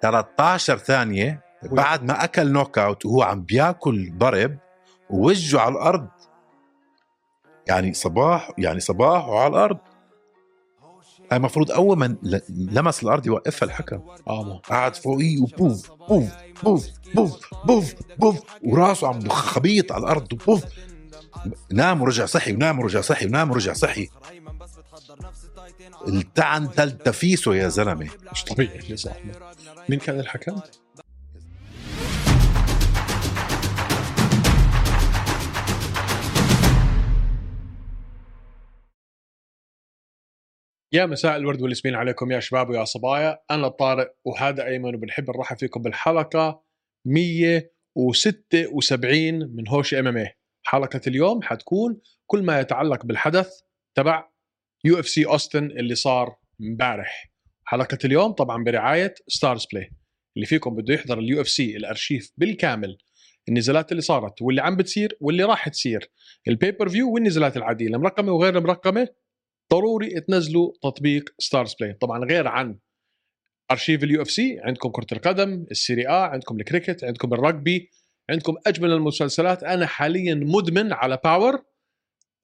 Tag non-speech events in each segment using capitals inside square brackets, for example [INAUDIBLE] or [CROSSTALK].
13 ثانيه بعد ما اكل نوك اوت وهو عم بياكل ضرب ووجهه على الارض يعني صباح يعني صباح وعلى الارض هاي المفروض اول ما ل- لمس الارض يوقفها الحكم اه قعد فوقيه وبوف بوف بوف بوف بوف بوف وراسه عم خبيط على الارض وبوف نام ورجع صحي ونام ورجع صحي ونام ورجع صحي التعن تل تفيسه يا زلمه مش طبيعي اللي صار مين كان الحكم؟ يا مساء الورد والياسمين عليكم يا شباب ويا صبايا انا طارق وهذا ايمن وبنحب نرحب فيكم بالحلقه 176 من هوش ام ام حلقه اليوم حتكون كل ما يتعلق بالحدث تبع يو اف سي اوستن اللي صار امبارح حلقه اليوم طبعا برعايه ستارز بلاي اللي فيكم بده يحضر اليو اف سي الارشيف بالكامل النزالات اللي صارت واللي عم بتصير واللي راح تصير البيبر فيو والنزالات العاديه المرقمه وغير المرقمه ضروري تنزلوا تطبيق ستارز بلاي طبعا غير عن ارشيف اليو اف سي عندكم كره القدم السيري اه عندكم الكريكت عندكم الرugby عندكم اجمل المسلسلات انا حاليا مدمن على باور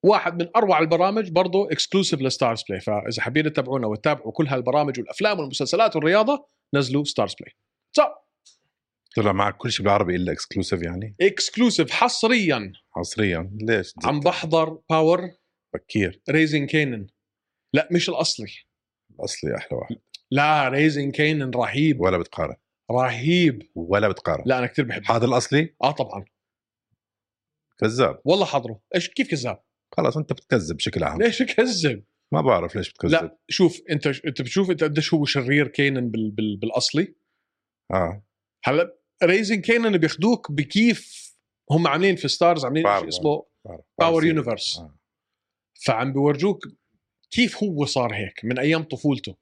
واحد من اروع البرامج برضو اكسكلوسيف لستارز بلاي فاذا حابين تتابعونا وتتابعوا كل هالبرامج والافلام والمسلسلات والرياضه نزلوا ستارز بلاي سو طلع معك كل شيء بالعربي الا اكسكلوسيف يعني اكسكلوسيف حصريا حصريا ليش عم بحضر باور بكير ريزين كينن لا مش الاصلي الاصلي احلى واحد لا ريزين كينن رهيب ولا بتقارن رهيب ولا بتقارن لا انا كثير بحبه هذا الاصلي اه طبعا كذاب والله حضره ايش كيف كذاب [LAUGHS] خلاص انت بتكذب بشكل عام ليش كذب ما بعرف ليش بتكذب لا شوف انت انت بتشوف انت قديش هو شرير كينن بال... بال... بالاصلي اه هلا ريزين كينن بياخدوك بكيف هم عاملين في ستارز عاملين بعرف، شيء اسمه بعرف. باور بعرف. يونيفرس آه. فعم بيورجوك كيف هو صار هيك من ايام طفولته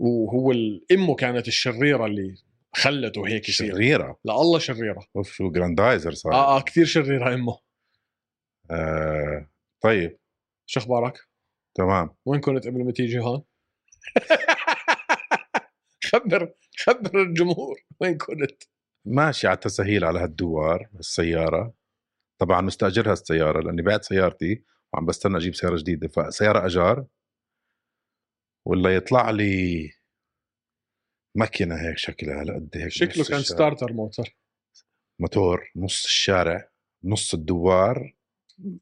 وهو ال- امه كانت الشريره اللي خلته هيك يصير شريره لا الله شريره اوف شو جراندايزر صار اه اه كثير شريره امه آه طيب شو اخبارك؟ تمام وين كنت قبل ما تيجي هون؟ [LAUGHS] خبر خبر الجمهور وين كنت؟ ماشي على التسهيل على هالدوار السيارة طبعا مستأجرها السيارة لأني بعت سيارتي وعم بستنى أجيب سيارة جديدة فسيارة أجار ولا يطلع لي ماكينة هيك شكلها هالقد هيك شكله نص كان الشارع. ستارتر موتر موتور نص الشارع نص الدوار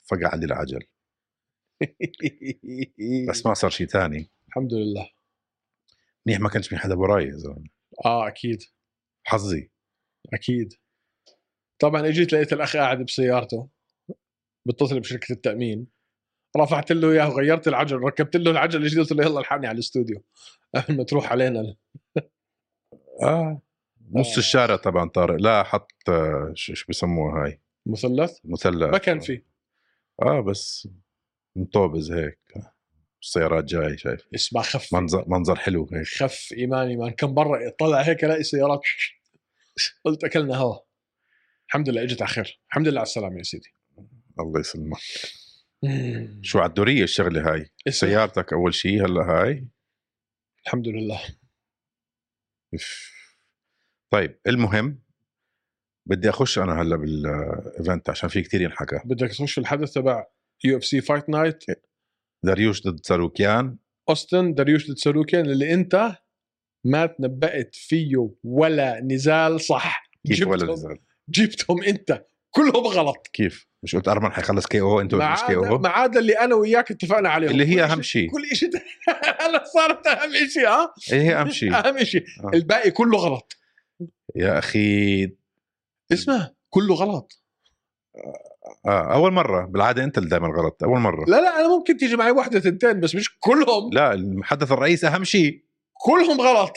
فقع لي العجل [LAUGHS] بس ما صار شيء ثاني الحمد لله منيح ما كانش في حدا وراي يا زلمة اه اكيد حظي اكيد طبعا اجيت لقيت الاخ قاعد بسيارته بتصل بشركه التامين رفعت له اياه وغيرت العجل ركبت له العجل الجديد قلت له يلا الحقني على الاستوديو قبل ما تروح علينا آه نص آه. الشارع طبعا طارق لا حط آه، شو شو بسموها هاي مثلث مثلث ما كان في اه بس مطوبز هيك السيارات جاي شايف اسمع خف منظر منظر حلو هيك خف ايمان ايمان كم مره طلع هيك الاقي سيارات قلت اكلنا هوا الحمد لله اجت على خير الحمد لله على السلامه يا سيدي الله يسلمك شو عالدورية الشغلة هاي اسمع، سيارتك أول شيء هلا هاي الحمد لله إف. طيب المهم بدي أخش أنا هلا بالإيفنت عشان في كتير ينحكى بدك تخش في الحدث تبع يو اف سي فايت نايت داريوش ضد ساروكيان اوستن داريوش ضد ساروكيان اللي انت ما تنبأت فيه ولا نزال صح كيف ولا جبتهم. نزال جبتهم انت كلهم غلط كيف مش قلت أرمن حيخلص كي أو أنتوا ما مش كي عدا أو ما عدا اللي انا وياك اتفقنا عليهم اللي كل هي أهم إشي- شيء كل شيء [LAUGHS] هلا صارت اهم شيء ها اللي هي أهم شيء اهم شيء آه. الباقي كله غلط يا أخي اسمع كله غلط آه أول مرة بالعادة أنت اللي دائما غلط أول مرة لا لا انا ممكن تيجي معي واحده تنتين بس مش كلهم آه. لا المحدث الرئيسي أهم شيء كلهم غلط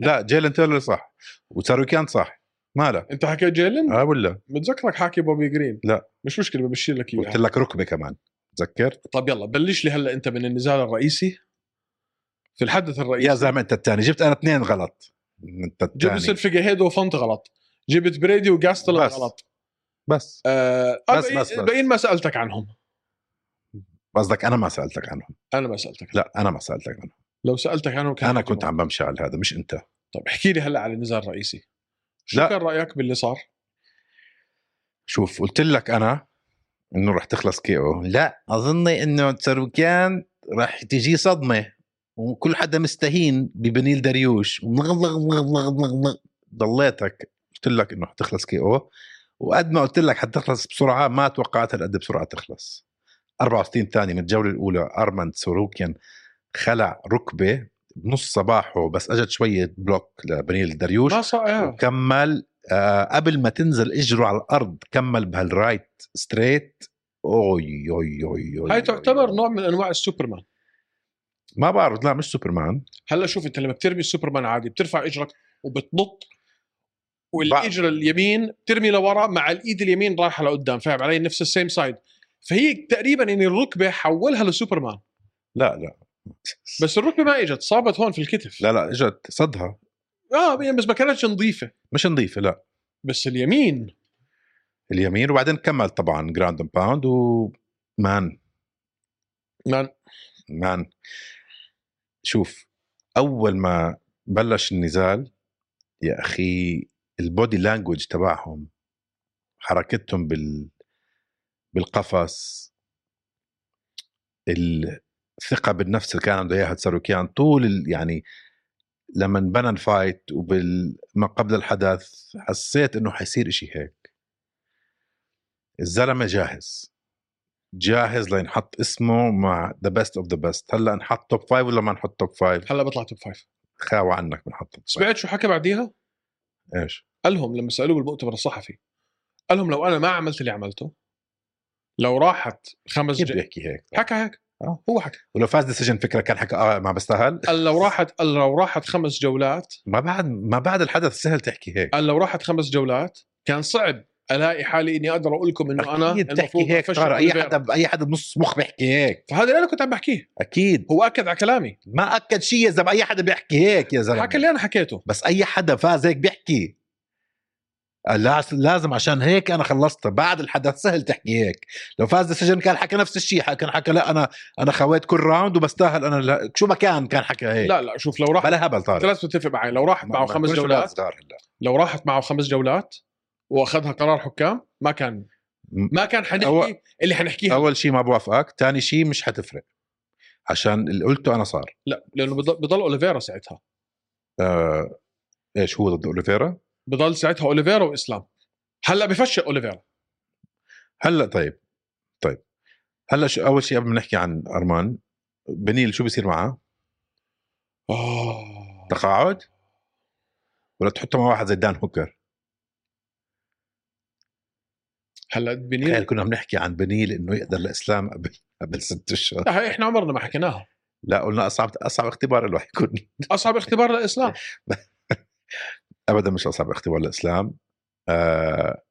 لا جيلن تيلر صح وساروكيان صح ماله انت حكيت جيلن اه ولا متذكرك حاكي بوبي جرين لا. مش مشكله ببشر لك قلت اياها لك ركبه كمان تذكرت طب طيب يلا بلش لي هلا انت من النزال الرئيسي في الحدث طيب، يا الرئيسي زلمه انت الثاني جبت انا اثنين غلط انت جبت الثاني سيلفيجاهيد وفونت غلط جبت بريدي وجاستل بس. غلط بس آه بس- أبقي- بس- بس. باقيين ما سالتك عنهم قصدك انا ما سالتك عنهم انا ما سالتك لا انا ما سالتك عنهم لو سالتك انا كان انا حكي كنت معك. عم بمشي على هذا مش انت طب احكي لي هلا على النزال الرئيسي شو لا. لا. كان رايك باللي صار؟ شوف قلت لك انا انه رح تخلص كي او لا اظن انه ساروكيان رح تجي صدمه وكل حدا مستهين ببنيل دريوش ضليتك قلت لك انه حتخلص كي او وقد ما قلت لك حتخلص بسرعه ما توقعت هالقد بسرعه تخلص 64 ثانيه من الجوله الاولى ارمند ساروكيان خلع ركبه بنص صباحه بس اجت شويه بلوك لبنيل دريوش ما صار آه. وكمل آه قبل ما تنزل اجره على الارض كمل بهالرايت ستريت اوي اوي اوي, أوي هاي أوي تعتبر أوي. نوع من انواع السوبرمان ما بعرف لا مش سوبرمان هلا شوف انت لما بترمي السوبرمان عادي بترفع اجرك وبتنط والاجر اليمين بترمي لورا مع الايد اليمين رايحه لقدام فاهم علي نفس السيم سايد فهي تقريبا يعني الركبه حولها لسوبرمان لا لا بس الركبه ما اجت صابت هون في الكتف لا لا اجت صدها اه يعني بس ما كانتش نظيفه مش نظيفه لا بس اليمين اليمين وبعدين كمل طبعا جراند أند باوند ومان مان مان شوف اول ما بلش النزال يا اخي البودي لانجوج تبعهم حركتهم بال بالقفص الثقه بالنفس اللي كان عنده اياها تساروكيان طول ال- يعني لما انبنى الفايت وما قبل الحدث حسيت انه حيصير إشي هيك الزلمه جاهز جاهز لينحط اسمه مع ذا بيست اوف ذا بيست هلا نحط توب فايف ولا ما نحط توب فايف هلا بطلع توب فايف خاوة عنك بنحط توب فايف سمعت شو حكى بعديها؟ ايش قالهم لما سالوه بالمؤتمر الصحفي قال لهم لو انا ما عملت اللي عملته لو راحت خمس كيف بده دقائق يحكي هيك حكى هيك آه. هو حكى ولو فاز ديسيجن فكره كان حكى اه ما بستاهل قال لو راحت قال لو راحت خمس جولات ما بعد ما بعد الحدث سهل تحكي هيك قال لو راحت خمس جولات كان صعب الاقي حالي اني اقدر اقول لكم انه انا اكيد المفروض تحكي هيك أفشل طارق اي أوليفيرا. حدا اي حدا بنص مخ بيحكي هيك فهذا اللي انا كنت عم بحكيه اكيد هو اكد على كلامي ما اكد شيء يا زلمه اي حدا بيحكي هيك يا زلمه حكى اللي انا حكيته بس اي حدا فاز هيك بيحكي قال لا- لازم عشان هيك انا خلصت بعد الحدث سهل تحكي هيك لو فاز السجن كان حكى نفس الشيء كان حكى لا انا انا خويت كل راوند وبستاهل انا لا شو ما كان كان حكى هيك لا لا شوف لو راحت إيه. بلا هبل طارق ثلاث بتتفق معي لو راحت ما- معه ما خمس كلش جولات صغار هلا لو راحت معه خمس جولات واخذها قرار حكام ما كان ما كان أول- حنحكي اللي حنحكيه اول شيء ما بوافقك ثاني شيء مش حتفرق عشان اللي قلته انا صار لا لانه بضل, بضل اوليفيرا ساعتها آه ايش هو ضد اوليفيرا بضل ساعتها اوليفيرا واسلام هلا بفشل اوليفيرا هلا طيب طيب هلا شو اول شيء قبل ما نحكي عن ارمان بنيل شو بيصير معه آه. تقاعد ولا تحطه مع واحد زي دان هوكر هلا بنيل تخيل كنا عم نحكي عن بنيل انه يقدر الاسلام قبل قبل ست اشهر لا، هاي احنا عمرنا ما حكيناها [LAUGHS] لا قلنا اصعب اصعب اختبار له حيكون اصعب اختبار للاسلام ابدا مش اصعب اختبار للاسلام آه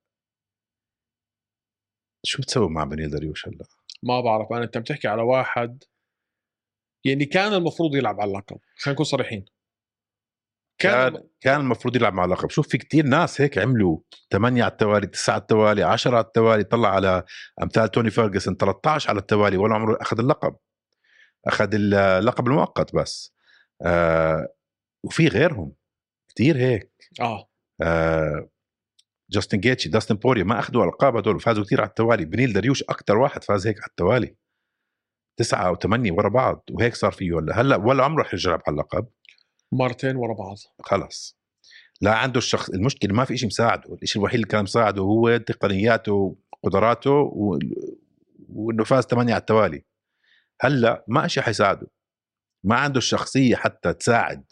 شو بتسوي مع بنيل دريوش هلا؟ ما بعرف انا انت بتحكي على واحد يعني كان المفروض يلعب على اللقب خلينا نكون صريحين كان, كان كان كان المفروض يلعب مع لقب شوف في كتير ناس هيك عملوا 8 على التوالي 9 على التوالي 10 على التوالي طلع على امثال توني فيرجسون 13 على التوالي ولا عمره اخذ اللقب اخذ اللقب المؤقت بس آه وفي غيرهم كتير هيك اه آه جاستن جيتشي داستن بوريا ما اخذوا القاب هدول فازوا كتير على التوالي بنيل دريوش اكثر واحد فاز هيك على التوالي تسعة أو ثمانية ورا بعض وهيك صار فيه هلا هلا ولا عمره رح يرجع على اللقب مرتين ورا بعض خلص لا عنده الشخص المشكله ما في شيء مساعده الشيء الوحيد اللي كان مساعده هو تقنياته وقدراته و... وانه فاز ثمانية على التوالي هلا ما شيء حيساعده ما عنده الشخصيه حتى تساعد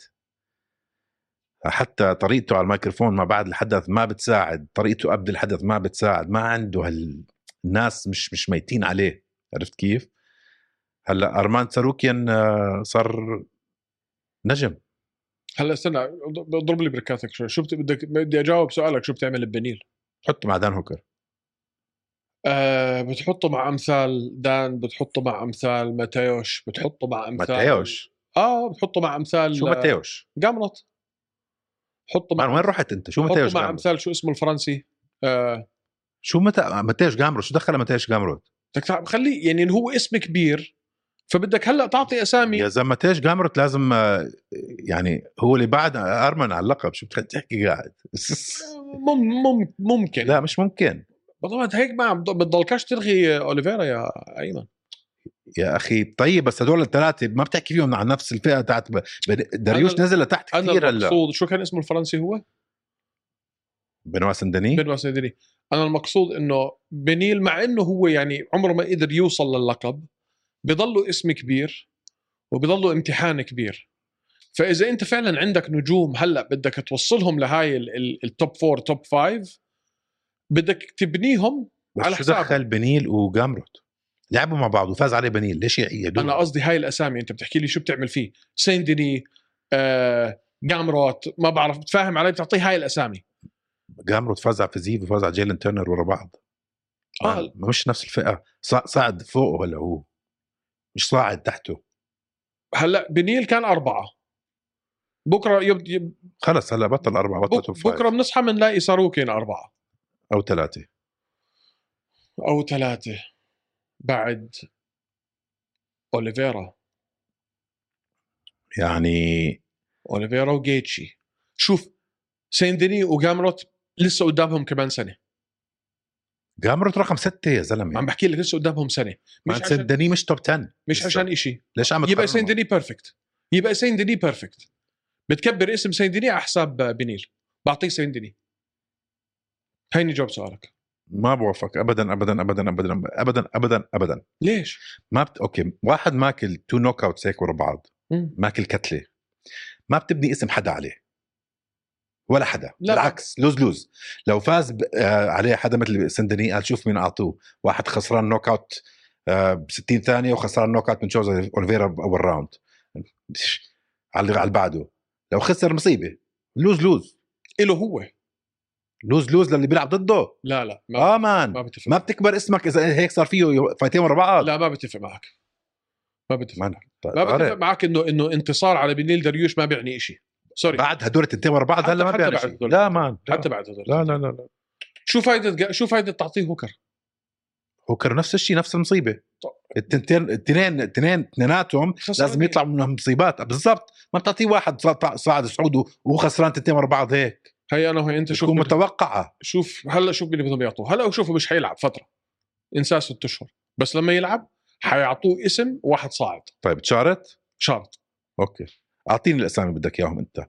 حتى طريقته على الميكروفون ما بعد الحدث ما بتساعد طريقته قبل الحدث ما بتساعد ما عنده هال... الناس مش مش ميتين عليه عرفت كيف هلا ارمان ساروكيان آه، صار نجم هلا استنى اضرب لي بركاتك شوي شو بت- بدك بدي اجاوب سؤالك شو بتعمل ببنيل حطه مع دان هوكر أه بتحطه مع امثال دان بتحطه مع امثال ماتيوش بتحطه مع امثال ماتيوش اه بتحطه مع امثال شو ماتيوش؟ جامرت حطه مان مع وين رحت انت؟ شو ماتيوش حطه مع جامروت؟ امثال شو اسمه الفرنسي آه شو متى ماتيوش جامروت؟ شو دخل ماتيوش جامروت؟ بدك تع- خليه يعني هو اسم كبير فبدك هلا تعطي اسامي يا زلمه تيش جامرت لازم آه، يعني هو اللي بعد ارمن على اللقب شو بتحكي تحكي قاعد [LAUGHS] مم مم ممكن لا مش ممكن بالضبط هيك ما عم- بتضلكش تلغي اوليفيرا يا ايمن يا اخي طيب بس هدول الثلاثه ما بتحكي فيهم عن نفس الفئه تاعت ب- ب- داريوش أنا- نزل لتحت انا كثير هلا المقصود شو كان اسمه الفرنسي هو؟ إيه؟ بنوا سندني بنوا سيدري انا المقصود انه بنيل مع انه هو يعني عمره ما قدر يوصل للقب بضله اسم كبير وبضله امتحان كبير فاذا انت فعلا عندك نجوم هلا بدك توصلهم لهاي ال- ال- التوب فور توب فايف بدك تبنيهم بس على شو حسابه. دخل بنيل وجامروت لعبوا مع بعض وفاز عليه بنيل ليش يعيدوا انا قصدي هاي الاسامي انت بتحكي لي شو بتعمل فيه سين ديني آه جامروت ما بعرف بتفاهم علي بتعطيه هاي الاسامي جامروت فاز على فيزيف وفاز على جيلن تيرنر ورا بعض آه. آه. مش نفس الفئه صع- صعد فوقه هلا هو مش صاعد تحته هلا بنيل كان اربعه بكره يب... يب... خلص هلا بطل اربعه بطل توب بك... فايف. بكره بنصحى بنلاقي ساروكين اربعه او ثلاثه او ثلاثه بعد اوليفيرا يعني اوليفيرا وجيتشي شوف سين ديني وجامروت لسه قدامهم كمان سنه جامروت رقم ستة يا زلمه عم بحكي لك لسه قدامهم سنه مش ما عشان سندني مش توب 10 مش لسه. عشان إشي ليش عم يبقى تقارنه؟ سين ديني بيرفكت يبقى سين ديني بيرفكت بتكبر اسم سين ديني على حساب بنيل بعطيك سين ديني هيني جاوب سؤالك ما بوافق ابدا ابدا ابدا ابدا ابدا ابدا ابدا ليش؟ ما بت... اوكي واحد ماكل تو نوك اوتس هيك ورا بعض مم. ماكل كتله ما بتبني اسم حدا عليه ولا حدا لا. لا. بالعكس لوز لوز لو فاز ب... آه عليه حدا مثل سندني قال شوف مين اعطوه واحد خسران نوك اوت آه ب 60 ثانيه وخسران نوك اوت من جوز اوليفيرا باول راوند على على اللي بعده لو خسر مصيبه لوز لوز إله هو لوز لوز للي بيلعب ضده لا لا ما, اه مان ما بتفق ما بتكبر اسمك اذا هيك صار فيه فايتين ورا بعض لا ما بتفق معك ما بتفق ما طيب، ما بتفق طارق، معك انه انه انتصار على بنيل دريوش ما بيعني شيء سوري بعد هدول التنتين ورا بعض حتى- هلا ما حتى بيعني بعد شيء هدول لا مان حتى بعد هذول لا لا لا لا شو فائده شو فائده تعطيه هوكر؟ هوكر نفس الشيء نفس المصيبه طب. التنتين التنين التنين اثنيناتهم خسران لازم مين؟ يطلعوا من مصيبات بالضبط ما بتعطيه واحد صا- صاعد سعودي وهو خسران تنتين ورا بعض هيك هي انا وهي انت شوف تكون مين- متوقعه شوف هلا شوف اللي بدهم يعطوه هلا شوفه مش حيلعب فتره انساه ست اشهر بس لما يلعب حيعطوه اسم واحد صاعد طيب تشارت شرط اوكي اعطيني الاسامي اللي بدك اياهم انت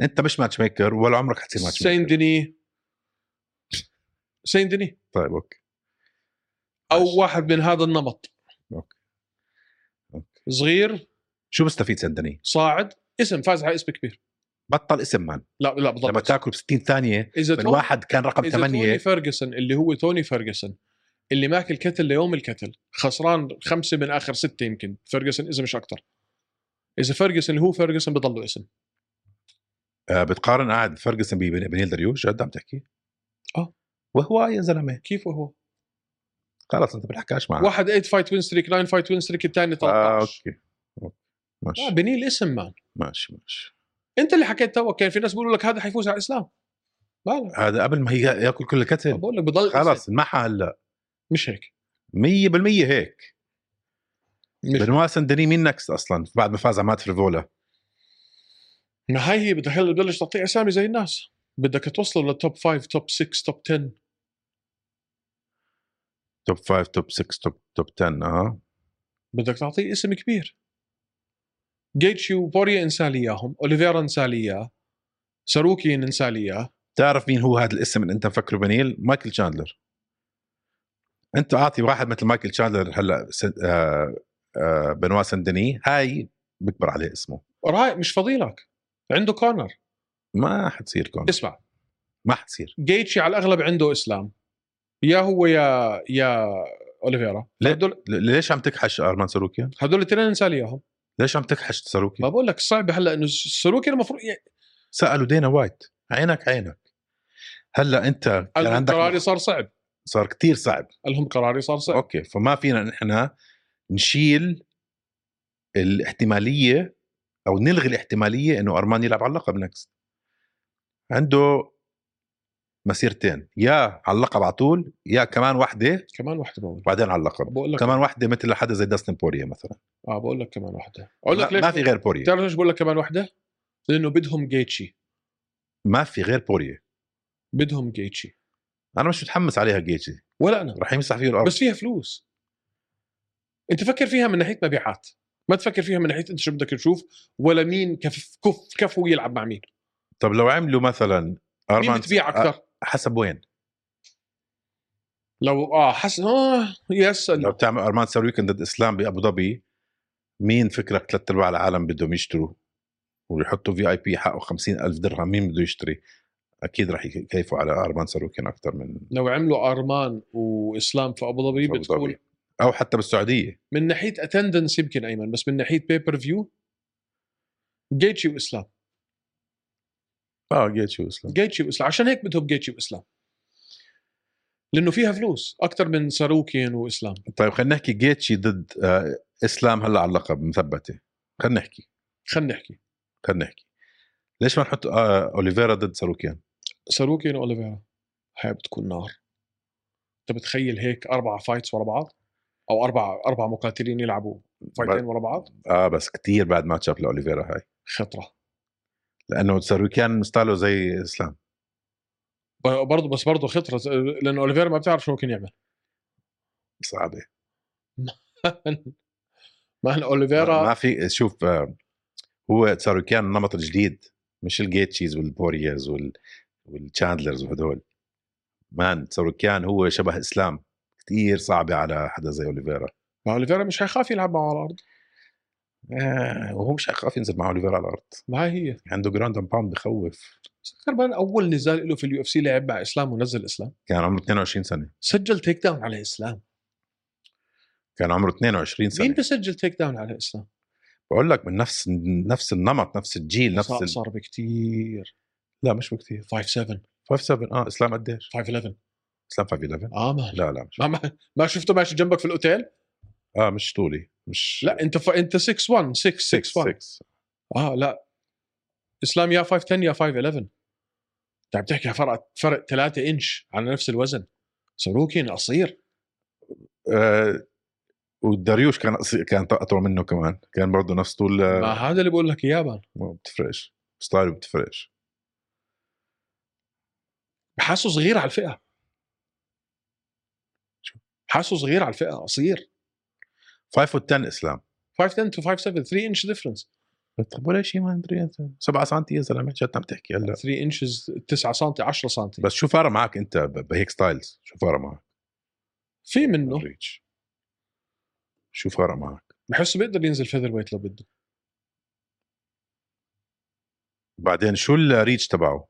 انت مش ماتش ميكر ولا عمرك حتصير ماتش سين ميكر ديني سين ديني طيب اوكي ماشي. او واحد من هذا النمط أوكي. أوكي. صغير شو مستفيد سندني صاعد اسم فاز على اسم كبير بطل اسم مان لا لا لما بالضبط تاكل ب 60 ثانيه اذا من توني- طيب، واحد كان رقم اذا توني 8 فيرجسون اللي هو توني فيرجسون اللي ماكل كتل ليوم الكتل خسران خمسه من اخر سته يمكن فيرجسون اذا مش اكثر اذا فيرجسون اللي هو فيرجسون بضله اسم آه، بتقارن قاعد فيرجسون ببن- بنيل دريوش جد عم تحكي؟ آه. وهو يا زلمه كيف هو خلص انت بتحكاش معه واحد 8 فايت وين ستريك 9 فايت وين ستريك الثاني آه 13 اوكي أوكي. آه ماشي بنيل اسم مان ماشي ماشي انت اللي حكيت توك كان في ناس بيقولوا لك هذا حيفوز على الاسلام لا لا هذا قبل ما هي ياكل كل الكتل بقول لك بضل اسم. خلص انمحى هلا مش هيك 100% هيك مش بنوا سندني مين نكست اصلا بعد ما فاز على مات فريفولا ما هاي هي بدها هلا تبلش تعطي اسامي زي الناس بدك توصله للتوب 5 توب 6 توب 10 توب 5 توب 6 توب توب 10 اه بدك تعطيه اسم كبير جيتشي وبوريا انسى لي اياهم اوليفيرا انسى لي اياه ساروكين انسى لي اياه بتعرف مين هو هذا الاسم اللي انت مفكره بنيل مايكل تشاندلر انت اعطي واحد مثل مايكل تشاندلر هلا سن- آه، آه، بنوا سندني هاي بكبر عليه اسمه راي مش فاضي لك عنده كونر ما حتصير كون اسمع ما حتصير جيتشي على الاغلب عنده اسلام يا هو يا يا اوليفيرا ليه؟ هدول ل- ليش عم تكحش ارمان ساروكيان؟ هدول الاثنين انسى لي اياهم ليش عم تكحش ما ساروكيان؟ بقول لك صعب هلا انه السلوكي المفروض يعني سالوا دينا وايت عينك عينك هلا انت كان قال لهم عندك قراري صار صعب صار كتير صعب قال لهم قراري صار صعب اوكي فما فينا نحن نشيل الاحتماليه او نلغي الاحتماليه انه ارمان يلعب على اللقب نكست عنده مسيرتين يا على اللقب على طول يا كمان وحده كمان واحده بقول وبعدين على اللقب بقول لك كمان وحده مثل لحدا زي داستن بوريا مثلا اه بقول لك كمان واحده اقول لك ما- ليش ما في غير بوريا بتعرف ليش بقول لك كمان واحده لانه بدهم جيتشي ما في غير بوريا بدهم جيتشي انا مش متحمس عليها جيتشي ولا انا رح يمسح فيه الارض بس فيها فلوس انت فكر فيها من ناحيه مبيعات ما تفكر فيها من ناحيه انت شو بدك تشوف ولا مين كف كف كفو يلعب مع مين طب لو عملوا آه، مثلا مين ارمان بتبيع اكثر حسب وين لو اه حس اه يس لو بتعمل ارمان تسوي ويكند ضد اسلام بابو ظبي مين فكرك ثلاث ارباع العالم بدهم يشتروا ويحطوا في اي بي حقه 50000 درهم مين بده يشتري اكيد رح يكيفوا على ارمان ساروكين اكثر من لو عملوا ارمان واسلام في ابو ظبي في أبو بتكون ظبي. او حتى بالسعوديه من ناحيه اتندنس يمكن ايمن بس من ناحيه بيبر فيو جيتشي واسلام اه جيتشي واسلام جيتشي واسلام عشان هيك بدهم جيتشي واسلام لانه فيها فلوس اكثر من ساروكين واسلام طيب خلينا نحكي جيتشي ضد آه اسلام هلا على اللقب مثبته خلينا نحكي خلينا نحكي خلينا نحكي ليش ما نحط آه اوليفيرا ضد ساروكيان ساروكين واوليفيرا هاي بتكون نار انت بتخيل هيك اربع فايتس ورا بعض او اربع اربع مقاتلين يلعبوا فايتين ورا بعض اه بس كتير بعد ماتش اب لاوليفيرا هاي خطره لانه ساروكيان ستايله زي اسلام برضه بس برضه خطره لانه اوليفيرا ما بتعرف شو ممكن يعمل [LAUGHS] صعبه ما هلا اوليفيرا ما ما في شوف آه، هو ساروكيان النمط الجديد مش الجيتشيز والبورياز وال والتشاندلرز وهدول مان ساروكيان هو شبه اسلام كثير صعبه على حدا زي اوليفيرا ما اوليفيرا مش حيخاف يلعب معه على الارض آه، وهو مش حيخاف ينزل مع اوليفيرا على الارض ما هي هي عنده جراوند اند باوند بخوف كربان اول نزال له في اليو اف سي لعب مع اسلام ونزل اسلام كان عمره 22 سنه سجل تيك داون على اسلام كان عمره 22 مين سنه بيسجل تيك داون على اسلام بقول لك من نفس نفس النمط نفس الجيل نفس صار, ال... صار بكتير لا مش بكثير 5 7 5 7 اه اسلام قديش 5 11 اسلام 5 11 اه ما لا لا مش ما ما, ما شفته ماشي جنبك في الاوتيل اه مش طولي مش لا انت ف... انت 6 1 6 6 1 6 اه لا اسلام يا 5 10 يا 5 11 انت عم تحكي فرق فرق 3 انش على نفس الوزن ساروكين قصير آه والدريوش كان قصير- كان اطول منه كمان كان برضه نفس طول آه، ما هذا اللي بقول لك اياه بقى. ما بتفرقش ستايله بتفرقش حاسه صغير على الفئه حاسه صغير على الفئه قصير 5 فوت 10 اسلام 5 10 تو 5 7 3 انش ديفرنس طب ولا شيء ما ادري 7 سم يا زلمه شو عم تحكي هلا 3 انشز 9 سم 10 سم بس شو فارق معك انت ب- بهيك ستايلز شو فارق معك في منه الريتش شو فارق معك بحسه بيقدر ينزل فيذر ويت لو بده بعدين شو الريتش تبعه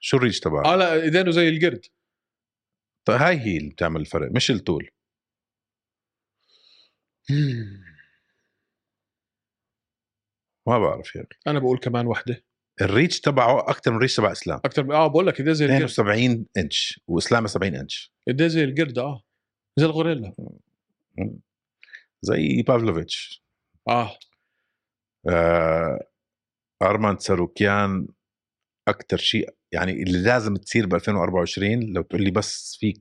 شو الريتش تبعه اه لا ايدينه زي القرد طيب هاي هي اللي بتعمل الفرق مش الطول ما بعرف يا اخي انا بقول كمان وحده الريتش تبعه اكثر من الريتش تبع اسلام اكثر اه بقول لك ايديه زي القرد 72 انش واسلام 70 انش ايديه زي القرد اه زي الغوريلا زي بافلوفيتش اه آه ارمان ساروكيان اكثر شيء يعني اللي لازم تصير ب 2024 لو تقول لي بس فيك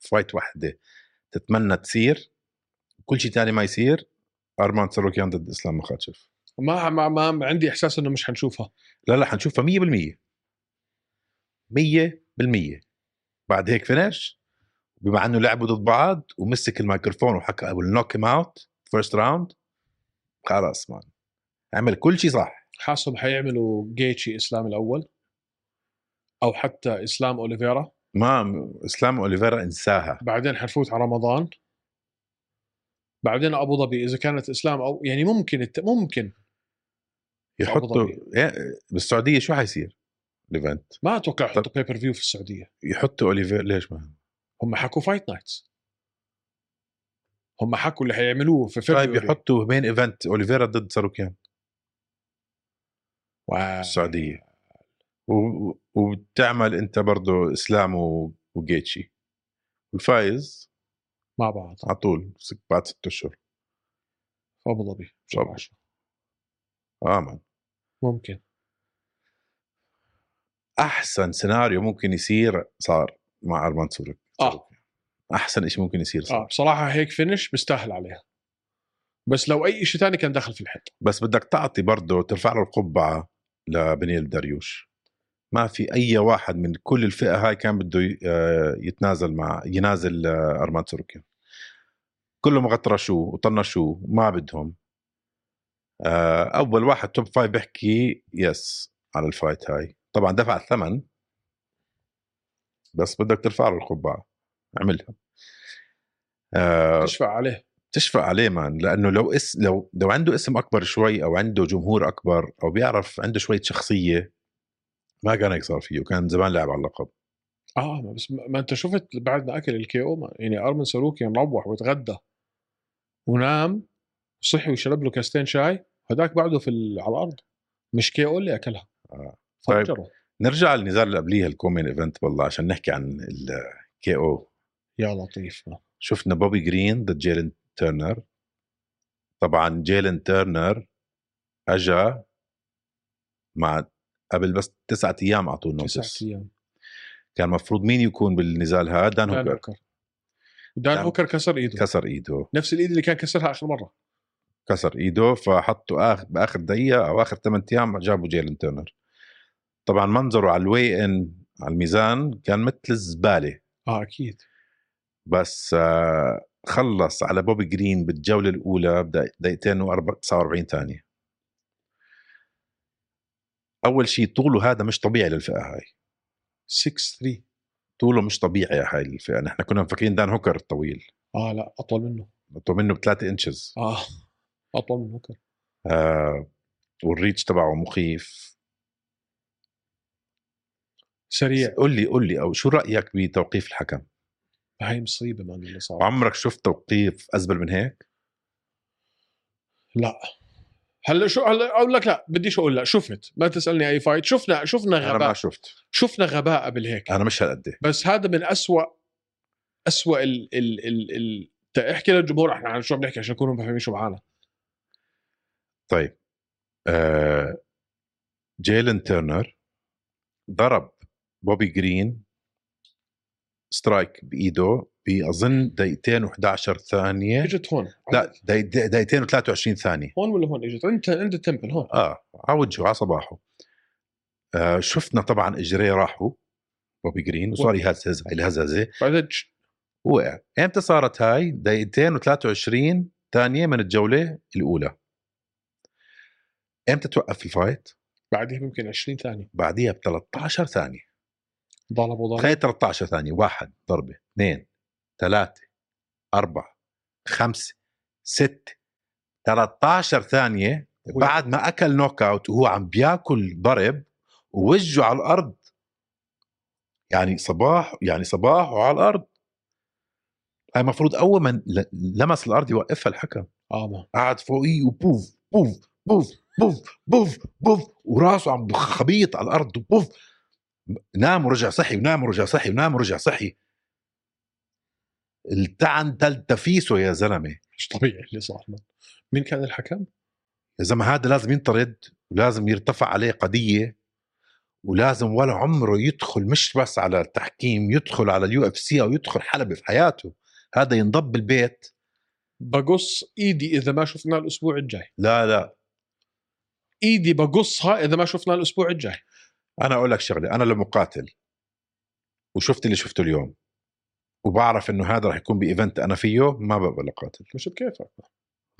فايت واحده تتمنى تصير كل شيء ثاني ما يصير ارمان ساروكيان ضد اسلام مخاتشف ما ما, ما عندي احساس انه مش حنشوفها لا لا حنشوفها 100% 100% بعد هيك فينش بما انه لعبوا ضد بعض ومسك الميكروفون وحكى اي ويل نوك هيم اوت فيرست راوند خلاص مان عمل كل شيء صح حاسهم حيعملوا جيتشي اسلام الاول او حتى اسلام اوليفيرا ما اسلام اوليفيرا انساها بعدين حنفوت على رمضان بعدين ابو ظبي اذا كانت اسلام او يعني ممكن الت... ممكن يحطوا أبو إيه، بالسعوديه شو حيصير الايفنت ما اتوقع يحطوا طب. بيبر فيو في السعوديه يحطوا اوليفيرا ليش ما هم حكوا فايت نايتس هم حكوا اللي حيعملوه في طيب فبراير يحطوا مين ايفنت اوليفيرا ضد ساروكيان و... السعوديه و- وبتعمل انت برضه اسلام و- وجيتشي الفايز مع بعض على طول ست- بعد ست اشهر في ابو ظبي شهر طبعاً. عشرة. اه مان ممكن احسن سيناريو ممكن يصير صار مع ارمان سورك آه. احسن شيء ممكن يصير صار اه بصراحه هيك فينش بيستاهل عليها بس لو اي شيء ثاني كان دخل في الحيط بس بدك تعطي برضه ترفع له القبعه لبنيل الدريوش ما في اي واحد من كل الفئه هاي كان بده ي- آه، يتنازل مع ينازل آه، ارمان سروكين كلهم غطرشوه وطنشوه ما بدهم آه، اول واحد توب فايف بيحكي يس على الفايت هاي طبعا دفع الثمن بس بدك ترفع له القبعه عملها آه، تشفع عليه تشفق عليه مان لانه لو اس لو لو عنده اسم اكبر شوي او عنده جمهور اكبر او بيعرف عنده شويه شخصيه ما كان هيك صار فيه كان زمان لاعب على اللقب اه ما بس ما ما انت شفت بعد ما اكل الكي او ما- يعني ارمن ساروكيان روح وتغدى ونام وصحي وشرب له كاستين شاي هذاك بعده في ال- على الارض مش كي او اللي اكلها آه. طيب. فجره نرجع للنزال اللي قبليها الكومين ايفنت والله عشان نحكي عن الكي او يا لطيف ما. شفنا بوبي جرين ضد جيلن تيرنر طبعا جيلن تيرنر اجا مع قبل بس تسعة ايام اعطوه تسعة نوتس ايام كان مفروض مين يكون بالنزال هذا دان دان هوكر هوكر دان دان- هوكر كسر ايده كسر ايده نفس الايد اللي كان كسرها اخر مره كسر ايده فحطوا آخر باخر دقيقه او اخر 8 ايام جابوا جيلن تيرنر طبعا منظره على الوي ان على الميزان كان مثل الزباله اه اكيد بس آه، خلص على بوبي جرين بالجوله الاولى بدق- دقيقتين و49 ثانيه اول شيء طوله هذا مش طبيعي للفئه هاي 6 3 طوله مش طبيعي هاي الفئه نحن كنا مفكرين دان هوكر الطويل اه لا اطول منه طول منه بثلاثة انشز اه اطول من هوكر آه والريتش تبعه مخيف سريع قول لي قول لي او شو رايك بتوقيف الحكم هاي مصيبه من اللي صار عمرك شفت توقيف ازبل من هيك؟ لا هلا شو هلا اقول لك لا بديش اقول لا شفت ما تسالني اي فايت شفنا شفنا انا ما غباء شفت أه. شفنا غباء قبل هيك انا مش هالقد إيه. بس هذا من أسوأ أسوأ ال ال ال, ال... تا- احكي للجمهور احنا عن شو عم نحكي عشان يكونوا فاهمين شو معانا طيب آه جيلن تيرنر ضرب بوبي جرين سترايك بايده باظن دقيقتين و11 ثانيه اجت هون لا دقي- دقي- دقيقتين و23 ثانيه هون ولا هون اجت عند عند التمبل هون اه على وجهه على صباحه آه شفنا طبعا اجريه راحوا بوبي جرين وصار يهزهز هاي الهزهزه بعدين تش- وقع امتى صارت هاي دقيقتين و23 ثانيه من الجوله الاولى امتى توقف الفايت بعدها يمكن 20 ثانيه بعديها ب 13 ثانيه ضرب وضرب تخيل 13 ثانيه واحد ضربه اثنين ثلاثه اربعه خمسه سته 13 ثانيه بعد ما اكل نوك اوت وهو عم بياكل ضرب ووجهه على الارض يعني صباح يعني صباح وعلى الارض هاي المفروض اول ما ل- لمس الارض يوقفها الحكم اه ما قعد فوقيه وبوف بوف بوف بوف بوف بوف وراسه عم خبيط على الارض بوف نام ورجع صحي ونام ورجع صحي ونام ورجع صحي التعن تلتفيسه يا زلمه مش طبيعي اللي صار ما. مين كان الحكم؟ يا زلمه هذا لازم ينطرد ولازم يرتفع عليه قضيه ولازم ولا عمره يدخل مش بس على التحكيم يدخل على اليو اف سي او يدخل حلبة في حياته هذا ينضب بالبيت بقص ايدي اذا ما شفناه الاسبوع الجاي لا لا ايدي بقصها اذا ما شفناه الاسبوع الجاي انا اقول لك شغله انا لمقاتل وشفت اللي شفته اليوم وبعرف انه هذا رح يكون بايفنت انا فيه ما بقبل اقاتل مش بكيفك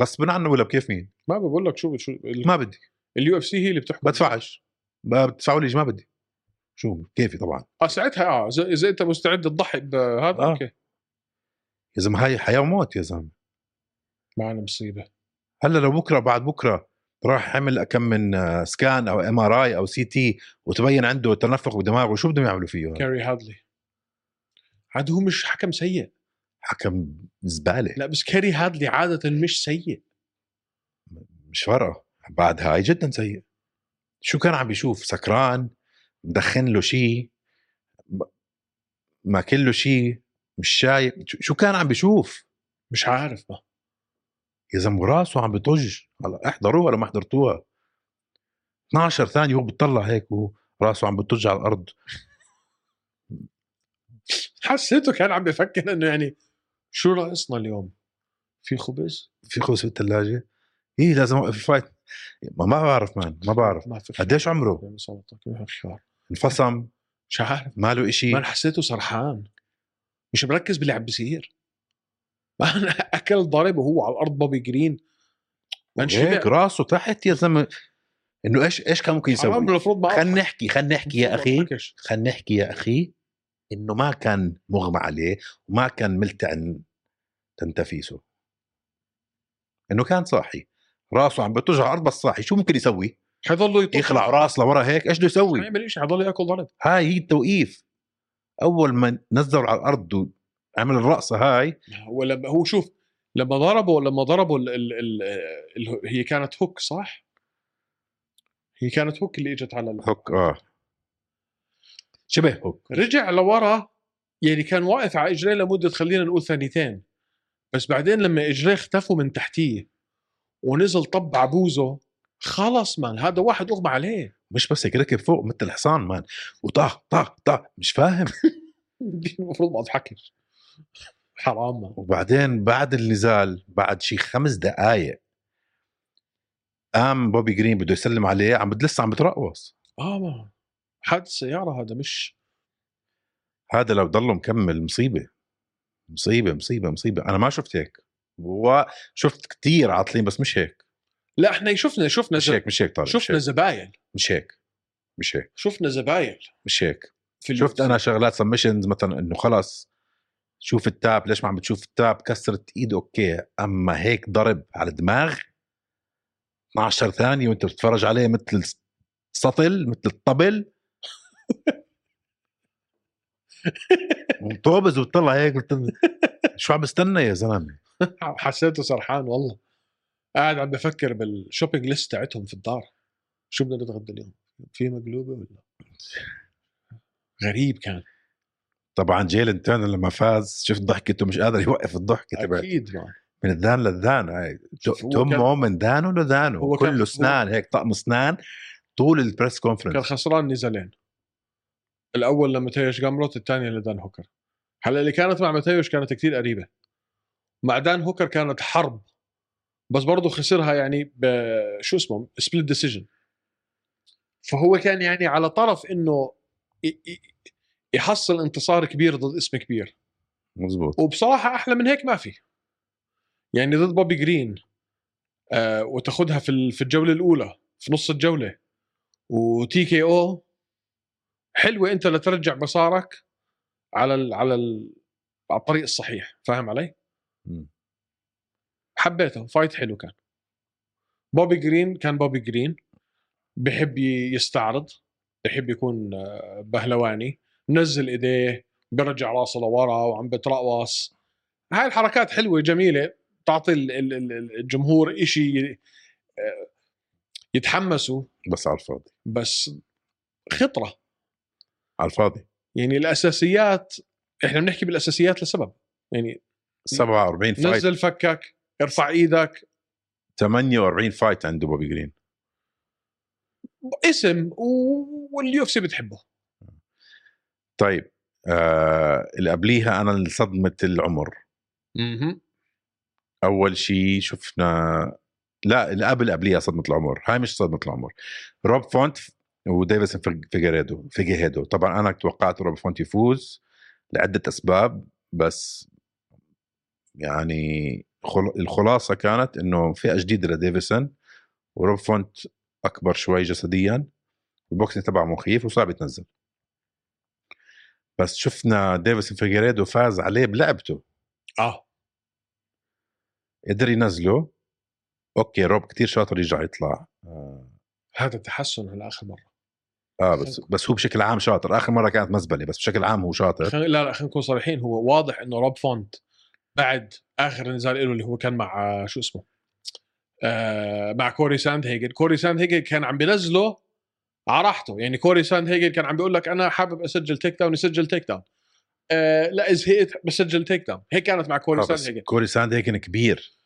غصب عنه ولا بكيف مين ما بقول لك شو شو ما بدي اليو اف سي هي اللي بتحكم بدفعش ما بدفعوا لي ما بدي شو كيفي طبعا اه ساعتها اه اذا إذا انت مستعد تضحي بهذا آه. اوكي يا زلمه هاي حياه وموت يا زلمه معنا مصيبه هلا لو بكره بعد بكره راح عمل كم من آه، سكان او ام ار اي او سي تي وتبين عنده تنفخ بدماغه شو بدهم يعملوا فيه هذا؟ كاري هادلي عاد هو مش حكم سيء حكم زباله لا بس كاري هادلي عاده مش سيء مش فارقه بعد هاي جدا سيء شو كان عم بيشوف سكران مدخن له شيء ماكل له شيء مش شايف شو- شو كان عم بيشوف مش عارف ما يا زلمه راسه عم بيطج هلا احضروها لو ما حضرتوها 12 ثانيه هو بتطلع هيك وهو راسه عم بتج على الارض حسيته كان عم بفكر انه يعني شو ناقصنا اليوم؟ في خبز؟ في خبز بالثلاجه ايه لازم اوقف فايت ما, ما بعرف مان ما بعرف ما في قديش عمره؟ يعني صوتك ما في شعر انفصم مش عارف ماله ما إشي انا حسيته سرحان مش مركز باللي عم بيصير ما [LAUGHS] انا اكل ضرب وهو على الارض بوبي جرين ما هيك انشبع راسه تحت يا زلمه انه ايش ايش كان ممكن يسوي؟ حرام المفروض ما خلينا نحكي خلينا نحكي يا اخي أضحكش. خلينا نحكي يا اخي انه ما كان مغمى عليه وما كان ملتعن تنتفيسه انه كان صاحي راسه عم بتوجع على الارض بس صاحي شو ممكن يسوي؟ حيضلوا يطلع يخلع راس لورا هيك ايش بده ما يسوي؟ يعمل شيء حيضل ياكل ضرب هاي هي التوقيف اول ما نزلوا على الارض وعمل الرقصه هاي ولما هو شوف لما ضربوا لما ضربوا ال ال ال ال هي كانت هوك صح؟ هي كانت هوك اللي اجت على ال- هوك اه شبه هوك رجع لورا يعني كان واقف على اجريه لمده خلينا نقول ثانيتين بس بعدين لما اجريه اختفوا من تحتيه ونزل طب عبوزه خلص مان هذا واحد اغمى عليه [LAUGHS] مش بس هيك ركب فوق مثل الحصان مان وطه طه طه مش فاهم دي المفروض ما اضحكش حرام مان وبعدين بعد النزال بعد شي خمس دقائق قام بوبي جرين بده يسلم عليه عم بد- لسه عم بترقص اه مان حادث سياره هذا مش هذا لو ضله مكمل مصيبه مصيبه مصيبه مصيبه انا ما شفت هيك وشفت كتير عاطلين بس مش هيك لا احنا شفنا شفنا مش ز... هيك مش هيك طارق مش شفنا هيك زباين مش هيك مش هيك شفنا زباين مش هيك في ال- شفت انا شغلات سبمشنز مثلا انه خلص شوف التاب ليش ما عم بتشوف التاب كسرت ايد اوكي اما هيك ضرب على الدماغ 12 ثانيه وانت بتتفرج عليه مثل السطل مثل الطبل [LAUGHS] ومطوبز وبتطلع هيك بت- شو عم بستنى يا زلمه [LAUGHS] حسيته سرحان والله قاعد عم بفكر بالشوبينج ليست تاعتهم في الدار شو بدنا نتغدى اليوم؟ في مقلوبه ولا؟ غريب كان طبعا جيلن تيرنر لما فاز شفت ضحكته مش قادر يوقف الضحكه تبعته اكيد ما من الذان للذان هاي شوف، هو تمه من ذانه لذانه هو كان- كله اسنان هيك طقم اسنان طول البريس كان كونفرنس خسران نزالين الاول لماتيوش جامروت الثانيه لدان هوكر هلا اللي كانت مع ماتيوش كانت كتير قريبه مع دان هوكر كانت حرب بس برضه خسرها يعني ب شو اسمه سبليت ديسيجن فهو كان يعني على طرف انه ي- ي- يحصل انتصار كبير ضد اسم كبير مزبوط وبصراحه احلى من هيك ما في يعني ضد بوبي جرين آه وتاخذها في ال- في الجوله الاولى في نص الجوله وتي كي او حلوه انت لترجع مسارك على ال على ال على الطريق الصحيح فاهم علي؟ مم. حبيته فايت حلو كان بوبي جرين كان بوبي جرين بحب ي- يستعرض بحب يكون آه، بهلواني منزل ايديه برجع راسه لورا وعم بترقص هاي الحركات حلوه جميله تعطي ال- ال- ال- الجمهور إشي آه، يتحمسوا بس على الفاضي بس خطره على الفاضي يعني الاساسيات احنا بنحكي بالاساسيات لسبب يعني 47 فايت نزل فكك ارفع ايدك 48 فايت عنده بوبي جرين اسم و- واليو اف سي بتحبه طيب آه اللي قبليها انا صدمه العمر اها اول شيء شفنا لا اللي قبل قبليها صدمه العمر هاي مش صدمه العمر روب فونت وديفيسون فيج- فيجيريدو فيجيهيدو طبعا انا توقعت روب فونت يفوز لعده اسباب بس يعني خل- الخلاصه كانت انه فئه جديده لديفيسون وروب فونت اكبر شوي جسديا البوكسينج تبعه مخيف وصعب يتنزل بس شفنا ديفيسون فيجيريدو فاز عليه بلعبته اه قدر ينزله اوكي روب كتير شاطر يرجع يطلع آه، هذا تحسن على اخر مره اه بس بس هو بشكل عام شاطر اخر مره كانت مزبله بس بشكل عام هو شاطر خل... لا لا خلينا نكون صريحين هو واضح انه روب فونت بعد اخر نزال له اللي هو كان مع آه، شو اسمه آه مع كوري ساند هيجن كوري ساند هيجن كان عم بنزله على راحته يعني كوري ساند هيجن كان عم بيقول لك انا حابب اسجل تيك داون يسجل تيك داون آه لا اذا زهقت بسجل تيك داون هيك كانت مع [LAUGHS] كوري آه ساند بس هيجن كوري ساند هيكن كبير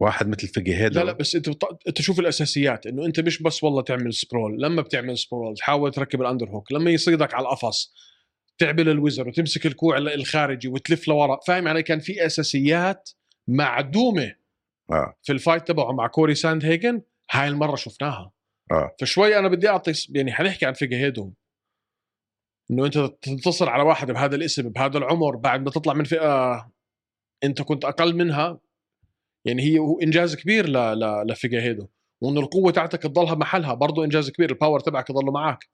واحد مثل فيجي هيدا لا لا بس انت بط... انت شوف الاساسيات انه انت مش بس والله تعمل سبرول لما بتعمل سبرول تحاول تركب الاندر هوك لما يصيدك على القفص تعبل الوزر وتمسك الكوع ال- الخارجي وتلف لورا فاهم علي كان في اساسيات معدومه آه. في الفايت تبعه مع كوري ساند هيجن هاي المره شفناها آه. فشوي انا بدي اعطي س- يعني حنحكي عن فيجاهيدو انه انت تنتصر على واحد بهذا الاسم بهذا العمر بعد ما تطلع من فئه انت كنت اقل منها يعني هي هو انجاز كبير ل ل لفيجاهيدو وانه القوه تاعتك تضلها محلها برضه انجاز كبير الباور تبعك يضله معك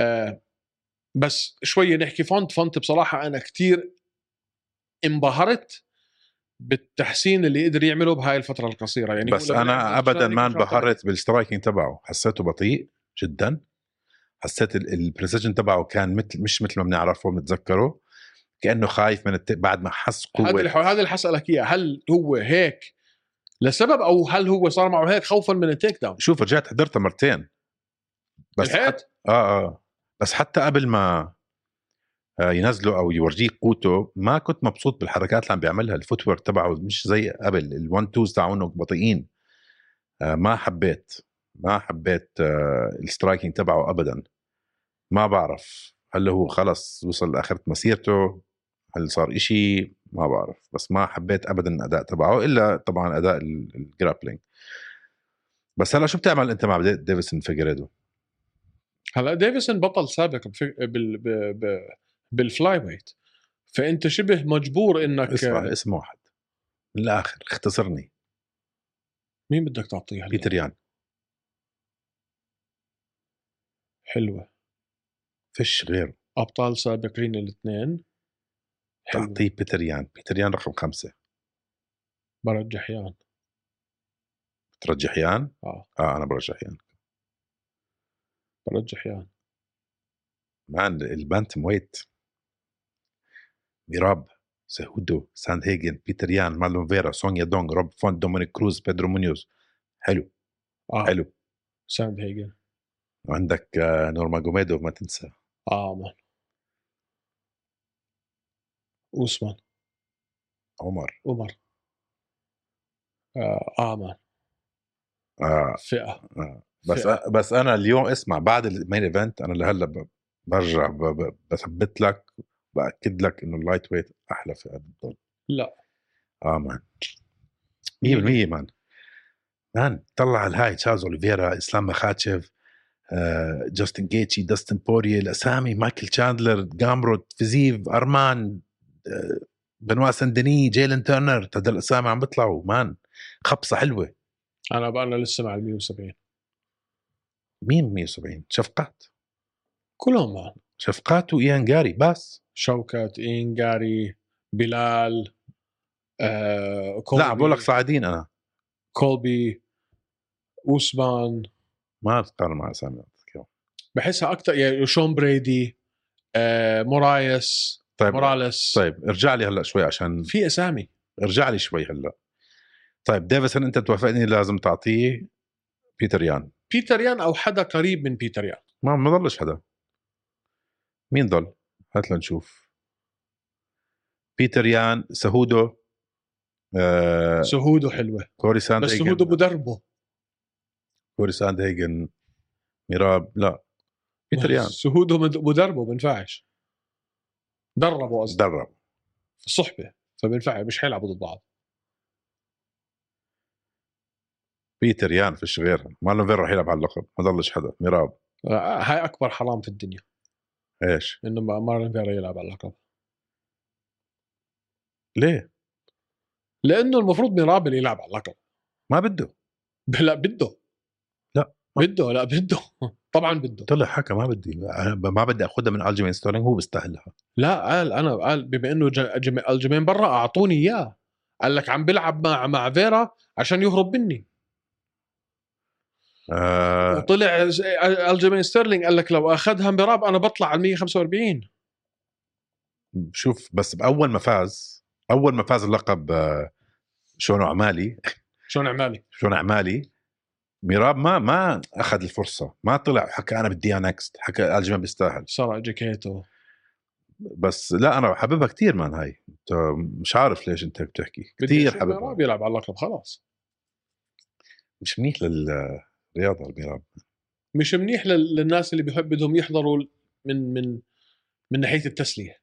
آه بس شويه نحكي فونت فونت بصراحه انا كتير انبهرت بالتحسين اللي قدر يعمله بهاي الفتره القصيره يعني بس هو لما انا لعب ابدا شارك ما وشارك. انبهرت بالسترايكنج تبعه حسيته بطيء جدا حسيت البريسيجن تبعه كان مثل مش مثل ما بنعرفه بنتذكره كانه خايف من الت... بعد ما حس هذا قوه اللي هذا اللي حسألك اياه هل هو هيك لسبب او هل هو صار معه هيك خوفا من التيك داون شوف رجعت حضرتها مرتين بس حتى لحقت اه اه بس حتى قبل ما آه، ينزله او يورجيك قوته ما كنت مبسوط بالحركات اللي عم بيعملها الفوتور تبعه مش زي قبل الون توز تاعونه بطيئين آه، ما حبيت ما حبيت آه، السترايكنج تبعه ابدا ما بعرف هل هو خلص وصل لاخره مسيرته هل صار إشي ما بعرف بس ما حبيت ابدا الاداء تبعه الا طبعا اداء ال- الجرابلينج بس هلا شو بتعمل انت مع دي- ديفيسون فيجريدو هلا ديفيسون بطل سابق بفي- بال... ب... ب... بالفلاي ويت فانت شبه مجبور انك اسمع اسم واحد من الاخر اختصرني مين بدك تعطيها هلا؟ بيتر يان حلوه فيش غيره ابطال سابقين الاثنين حلوه تعطيه بيتر يان بيتر يان رقم خمسة برجح يان بترجح يان اه اه انا برجح يان برجح يان مان البانتم ويت ميراب سهودو ساند هيجن بيتر يان مالون فيرا سونيا دونغ روب فونت دومينيك كروز بيدرو مونيوز حلو اه حلو ساند هيجن وعندك آه، نورما جوميدوف ما تنسى اه مان اوسمان عمر عمر آه, اه مان آه فئه بس آه. فئة. بس انا اليوم اسمع بعد المين ايفنت انا لهلا ب- برجع ب- ب- بثبت لك باكد لك انه اللايت ويت احلى فئه بتضل لا. اه مان 100% مان مان طلع على الهاي تشارلز اوليفيرا اسلام مخاتشف آه، جاستن جيتشي داستن بوري الاسامي مايكل تشاندلر جامروت فيزيف ارمان آه، بنوا سندني جيلن تيرنر هذا الاسامي عم بيطلعوا مان خبصه حلوه انا بقى انا لسه مع ال 170 مين 170 شفقات كلهم معهم شفقات وايان جاري بس شوكت انجاري بلال آه كولبي إيه. لا عم بقول لك صاعدين انا كولبي اوسمان ما بتقارن مع اسامي أذكر. بحسها اكثر يعني شون بريدي آه مورايس طيب موراليس طيب ارجع لي هلا شوي عشان في اسامي ارجع لي شوي هلا طيب ديفيسون انت توافقني لازم تعطيه بيتر يان بيتر يان او حدا قريب من بيتر يان ما ما ضلش حدا مين ضل؟ هات لنشوف بيتر يان سهودو آه سهوده حلوه كوري ساند بس سهوده هيجن مدربه كوري ساند هيجن ميراب لا بيتر يان سهوده مد- مدربه بنفعش دربه قصدي درب في الصحبه فبنفع مش حيلعبوا ضد بعض بيتر يان فيش غيرها مالون فين رح يلعب على اللقب ما ضلش حدا ميراب آه، هاي اكبر حرام في الدنيا ايش انه ما- مارلين فيرا يلعب على اللقب ليه؟ لانه المفروض ميرابل يلعب على اللقب [LAUGHS] ما بده لا بده لا. بده لا بده [LAUGHS] طبعا بده طلع حكى ما بدي أنا ب- ما بدي اخذها من الجيمين ستيرلينج هو بيستاهلها لا قال انا قال بما انه ج- جم- الجيمين برا اعطوني اياه قال لك عم بلعب مع مع فيرا عشان يهرب مني آه وطلع ز- الجيمين ستيرلينج قال لك لو اخذها ميراب انا بطلع على 145 شوف بس باول ما فاز اول ما فاز اللقب آه، شون عمالي شلون عمالي شون عمالي ميراب ما ما اخذ الفرصه ما طلع حكى انا بدي اياه نكست حكى الجيمين بيستاهل سرق جاكيته بس لا انا حاببها كثير مان هاي أنت مش عارف ليش انت بتحكي بدي كثير أشوف حاببها ميراب يلعب على اللقب خلاص مش منيح للرياضه الميراب مش منيح لل- للناس اللي بحب بدهم يحضروا من من من ناحيه التسليه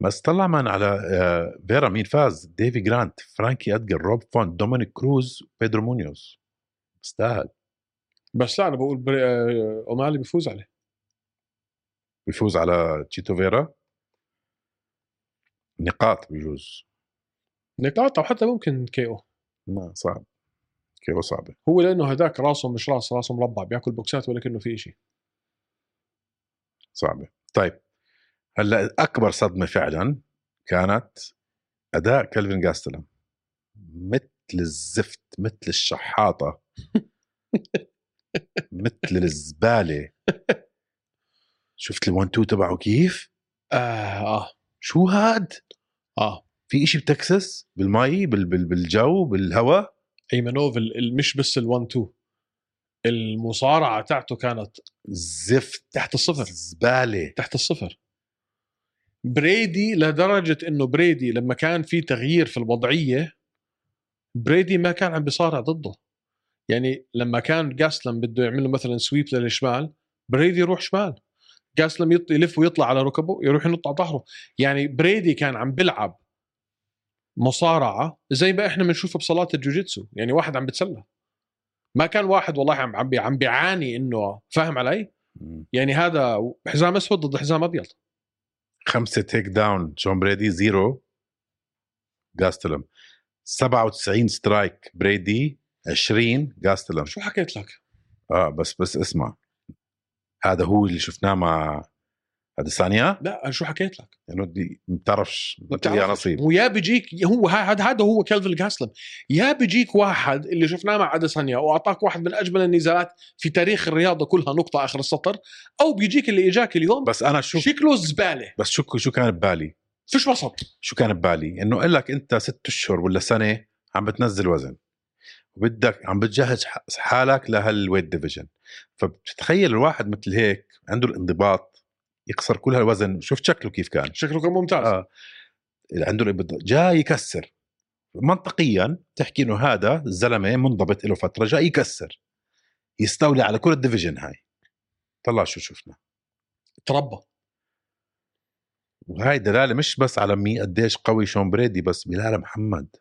بس طلع مان على آه، فيرا مين فاز ديفي جرانت فرانكي ادجر روب فون دومينيك كروز بيدرو مونيوز استاهل بس لا انا بقول بري... آه، اومالي بيفوز عليه بيفوز على تشيتو فيرا نقاط بجوز نقاط او حتى ممكن كي او ما صعب كيو صعبه هو لانه هذاك راسه مش راس راسه مربع بياكل بوكسات ولا كانه في شيء صعبه طيب هلا اكبر صدمه فعلا كانت اداء كلفن جاستلم مثل الزفت مثل الشحاطه مثل الزباله شفت الون تو تبعه كيف؟ اه اه شو هاد؟ اه في إشي بتكسس بالمي بال بال بالجو بالهواء ايمنوف ال- ال- مش بس ال1 2 المصارعه تاعته كانت زفت تحت الصفر زباله تحت الصفر بريدي لدرجه انه بريدي لما كان في تغيير في الوضعيه بريدي ما كان عم بيصارع ضده يعني لما كان جاسلم بده يعمل له مثلا سويب للشمال بريدي يروح شمال جاسلم يط- يلف ويطلع على ركبه يروح ينط على ظهره يعني بريدي كان عم بيلعب مصارعه زي ما احنا بنشوفه بصالات الجوجيتسو يعني واحد عم بتسلى ما كان واحد والله عم عم بي- عم بيعاني انه فاهم علي يعني هذا حزام اسود ضد حزام ابيض خمسه تيك داون جون بريدي زيرو جاستلم 97 سترايك بريدي 20 جاستلم شو حكيت لك؟ اه بس بس اسمع هذا هو اللي شفناه مع اديسانيا لا شو حكيت لك؟ لانه دي ما بتعرفش ما بتعرفش. يا نصيب ويا بيجيك هو هذا هذا هو كيلفن جاسلم يا بيجيك واحد اللي شفناه مع اديسانيا واعطاك واحد من اجمل النزالات في تاريخ الرياضه كلها نقطه اخر السطر او بيجيك اللي اجاك اليوم بس انا شو شكله زباله بس شو شو كان ببالي فيش وسط شو كان ببالي انه قال لك انت ست اشهر ولا سنه عم بتنزل وزن وبدك عم بتجهز ح- حالك لهالويت ديفيجن فبتتخيل الواحد مثل هيك عنده الانضباط يكسر كل هالوزن شوف شكله كيف كان شكله كان ممتاز آه. آه. اللي عنده الانضباط جاي يكسر منطقيا تحكي انه هذا الزلمه منضبط له فتره جاي يكسر يستولي على كل الديفيجن هاي طلع شو شفنا تربى وهاي دلاله مش بس على مي قديش قوي شون بريدي بس بلال محمد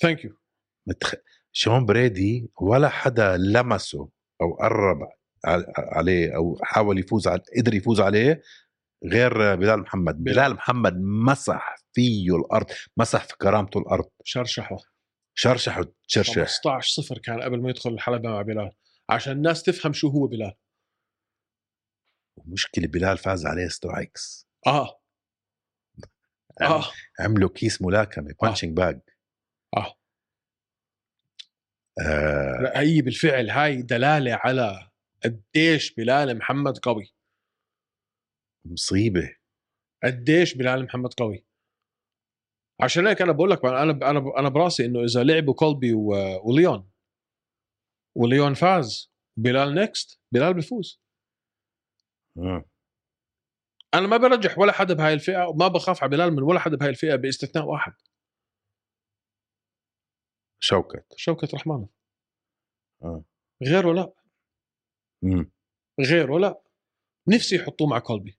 ثانك يو متخ... شون بريدي ولا حدا لمسه او قرب ع- عليه او حاول يفوز على قدر يفوز عليه غير بلال محمد بلال. بلال محمد مسح فيه الارض مسح في كرامته الارض شرشحه شرشح وتشرشح 15 صفر كان قبل ما يدخل الحلبه مع بلال عشان الناس تفهم شو هو بلال ومشكله بلال فاز عليه سترايكس اه اه عملوا كيس ملاكمه بانشنج باج آه. آه، لا هي بالفعل هاي دلاله على قديش بلال محمد قوي مصيبه قديش بلال محمد قوي عشان هيك انا بقول لك انا انا انا براسي انه اذا لعبوا كولبي و- وليون وليون فاز بلال نيكست بلال بيفوز آه. انا ما برجح ولا حدا بهاي الفئه وما بخاف على بلال من ولا حدا بهاي الفئه باستثناء واحد شوكت شوكة رحمانه آه. غيره لا مم. غيره لا نفسي يحطوه مع كولبي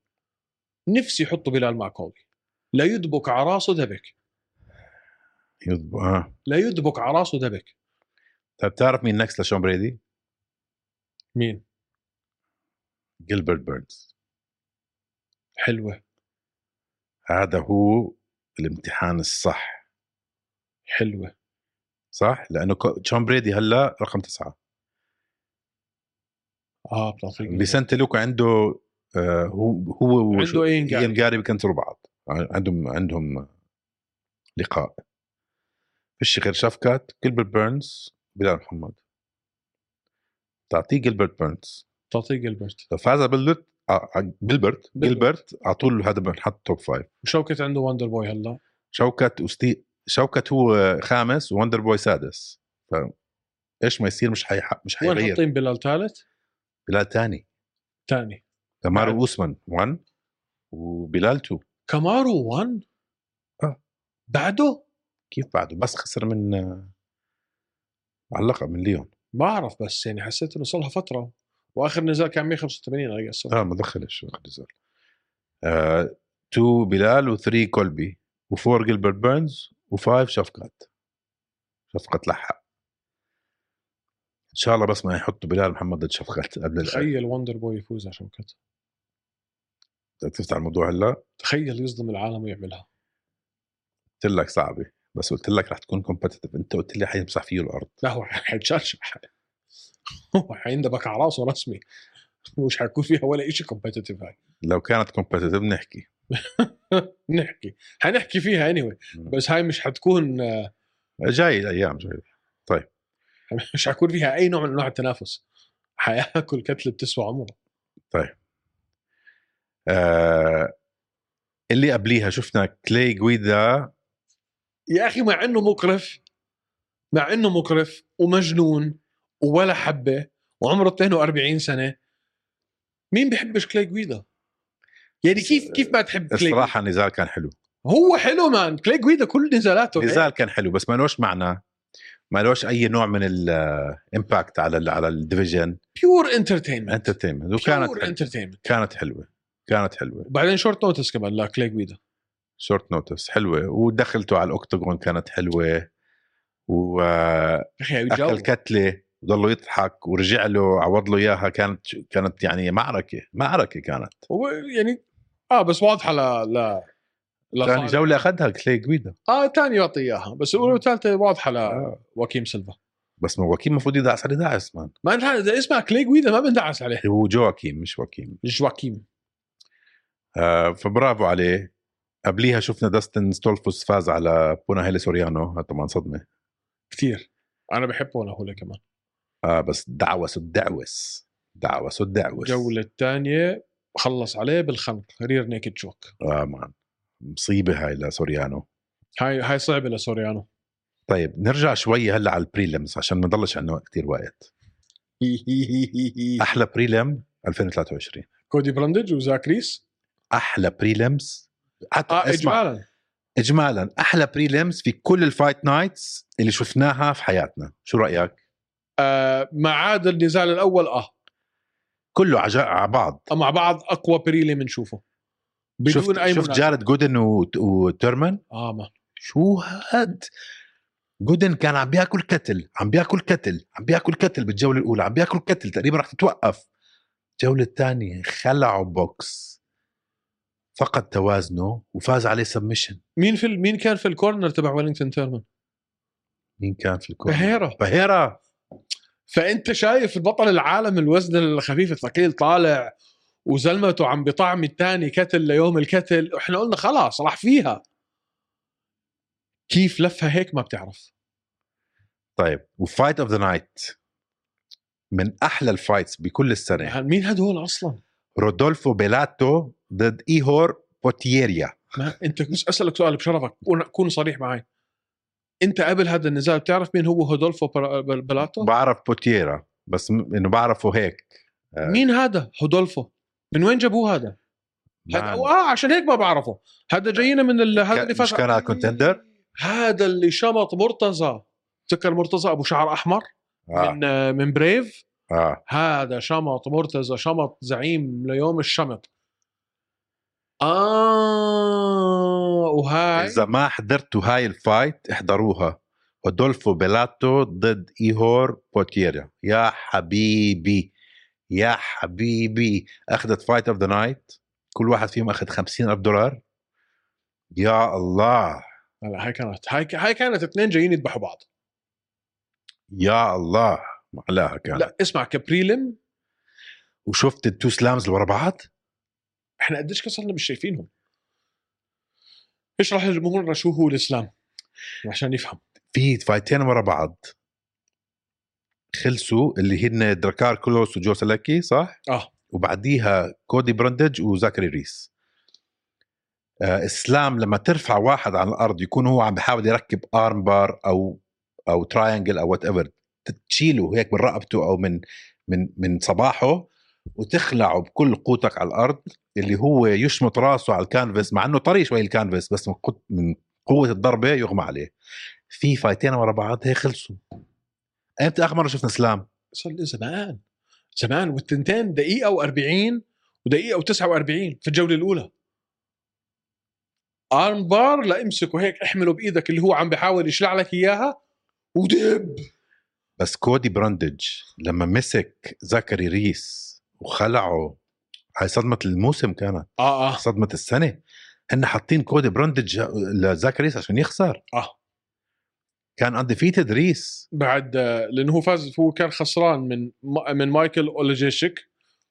نفسي يحطوا بلال مع كولبي لا يدبك على راسه دبك يضب... آه. لا يدبك على راسه دبك طيب تعرف مين نكس لشون بريدي؟ مين جilbert بيرنز حلوه هذا هو الامتحان الصح حلوه صح لانه كو- جون بريدي هلا رقم تسعة اه بتعطيك بسنه لوكا عنده آه هو هو عنده ايه ايان يعني جاري بيكنسلوا بعض عندهم عندهم لقاء فيش غير شفكات جيلبرت بيرنز بلال محمد تعطيه جيلبرت بيرنز بتعطيك جيلبرت لو فاز بلبرت آه بلبرت جيلبرت على طول هذا بنحط توب فايف وشوكت عنده وندر بوي هلا شوكت وستي شوكت هو خامس ووندر بوي سادس ف ايش ما يصير مش حيح... مش وين حيغير حاطين بلال ثالث بلال تاني ثاني مارو بعد. اوسمان 1 وبلال 2 كامارو 1 آه. بعده كيف بعده بس خسر من آه، معلقه من ليون بعرف بس يعني حسيت انه صار لها فتره واخر نزال كان 185 اي قصة اه ما دخلش واحد نزل آه، 2 بلال و3 كولبي و4 جilbert بيرنز و5 شفقات شفقات لحق ان شاء الله بس ما يحطوا بلال محمد ضد شفقات قبل الأ- تخيل وندر بوي يفوز على شوكت بدك تفتح الموضوع هلا تخيل يصدم العالم ويعملها قلت لك صعبه بس قلت لك رح تكون كومبتيتيف انت قلت لي حيمسح فيه الارض لا هو [LAUGHS] حيتشرشح هو حيندبك على راسه رسمي مش حيكون فيها ولا شيء كومبتيتيف هاي لو كانت كومبتيتيف نحكي نحكي حنحكي فيها اني anyway. بس هاي مش حتكون جاي الايام جاي [LAUGHS] مش حيكون فيها اي نوع من انواع التنافس حياكل كتله بتسوى عمره آه اللي قبليها شفنا كلي جويدا يا اخي مع انه مقرف مع انه مقرف ومجنون ولا حبه وعمره 42 سنه مين بيحبش كلاي جويدا؟ يعني كيف كيف ما تحب كلاي جويدا؟ الصراحه النزال كان حلو هو حلو مان كلاي جويدا كل نزالاته نزال كان حلو بس ما لوش معنى ما لوش اي نوع من الامباكت على ال على الديفيجن بيور انترتينمنت انترتينمنت وكانت بيور حلوة. انترتينمنت كانت حلوه كانت حلوه وبعدين شورت نوتس كمان لكلاي جويدا شورت نوتس حلوه ودخلته على الاوكتاجون كانت حلوه و يا اخي اكل بيجاوب كتله وضلوا يضحك ورجع له عوض له اياها كانت كانت يعني معركه معركه كانت هو يعني اه بس واضحه ل ل ثاني لخالد. جوله اخذها يعني كلي جويدا اه تاني يعطي اياها بس الاولى والثالثه واضحه آه. لواكيم سيلفا بس ما وكيم المفروض يدعس على داعس مان ما نحن اذا اسمها كلي جويدا ما بندعس [LAUGHS] عليه هو جواكيم مش وكيم جواكيم آه فبرافو عليه قبليها شفنا داستن ستولفوس فاز على بونا هيلي سوريانو هذا طبعا صدمه كثير انا بحبه انا هولا كمان اه بس دعوس الدعوس دعوس الدعوس الجوله الثانيه خلص عليه بالخنق رير نيكد جوك اه مان مصيبه هاي لسوريانو هاي هاي [LAUGHS] صعبه لسوريانو طيب نرجع شوي هلا على البريلمز عشان ما نضلش عندنا كثير وقت إيه. احلى بريلم 2023 كودي براندج وزاك ريس احلى بريلمز حتى اه اسمع اجمالا اجمالا احلى بريلمز في كل الفايت نايتس اللي شفناها في حياتنا شو رايك آه ما عاد النزال الاول اه كله عج- على بعض مع بعض اقوى بريلي بنشوفه بدون شفت, اي شفت منازع. جارد جودن و- وتيرمان اه ما شو هاد جودن كان عم بياكل كتل عم بياكل كتل عم بياكل كتل بالجوله الاولى عم بياكل كتل تقريبا رح تتوقف الجوله الثانيه خلعه بوكس فقد توازنه وفاز عليه سبمشن مين في ال- مين كان في الكورنر تبع ويلينغتون تيرمان مين كان في الكورة بهيرة بهيرة فانت شايف البطل العالم الوزن الخفيف الثقيل طالع وزلمته عم بطعم الثاني كتل ليوم الكتل احنا قلنا خلاص راح فيها كيف لفها هيك ما بتعرف طيب وفايت اوف ذا نايت من احلى الفايتس بكل السنه يعني مين هدول اصلا رودولفو بيلاتو ضد ايهور بوتييريا ما انت بس اسالك سؤال بشرفك كون- كون صريح معي انت قبل هذا النزال بتعرف مين هو هودولفو برا- بل- بلاتو بعرف بوتييرا بس م- انه بعرفه هيك مين هذا هودولفو من وين جابوه هذا هذا ما- اه عشان هيك ما بعرفه هذا جاينا من ال... هذا كان- اللي فاز نعم. مش كان على كونتندر؟ هذا اللي شمط مرتزى تذكر مرتزى ابو شعر احمر آه. اه من آه، من بريف اه هذا شمط مرتزى شمط زعيم ليوم الشمط اه وهاي اذا ما حضرتوا هاي الفايت احضروها رودولفو بيلاتو ضد ايهور بوتييريا يا حبيبي يا حبيبي اخذت فايت اوف ذا نايت كل واحد فيهم اخذ 50000 دولار يا الله لا هاي كانت هاي هاي كانت اثنين جايين يذبحوا بعض يا الله معلاها كان لا. لا اسمع كبريلم وشفت التو سلامز اللي ورا بعض احنا قديش كسرنا مش شايفينهم اشرح لجمهورنا شو هو الاسلام عشان يفهم في فايتين ورا بعض خلصوا اللي هن دراكار كلوس وجو سلاكي صح اه وبعديها كودي برندج وزاكري ريس آه اسلام لما ترفع واحد عن الارض يكون هو عم بحاول يركب ارم بار او او تراينجل او وات ايفر تشيله هيك من رقبته او من من من صباحه وتخلعه بكل قوتك على الارض اللي هو يشمط راسه على الكانفاس مع انه طري شوي الكانفاس بس من قوة- من قوه الضربه يغمى عليه في فايتين ورا بعض هيك خلصوا امتى اخر مره شفنا سلام صار لي زمان زمان والتنتين دقيقه و40 ودقيقه و49 في الجوله الاولى ارم بار لا امسكه هيك احمله بايدك اللي هو عم بحاول يشلع لك اياها ودب بس كودي براندج لما مسك زكري ريس وخلعه هاي صدمه الموسم كانت اه اه صدمه السنه هن حاطين كودي براندج لزكري ريس عشان يخسر اه كان انديفيتد ريس بعد آه، لانه هو فاز هو كان خسران من ما- من مايكل اولجيشيك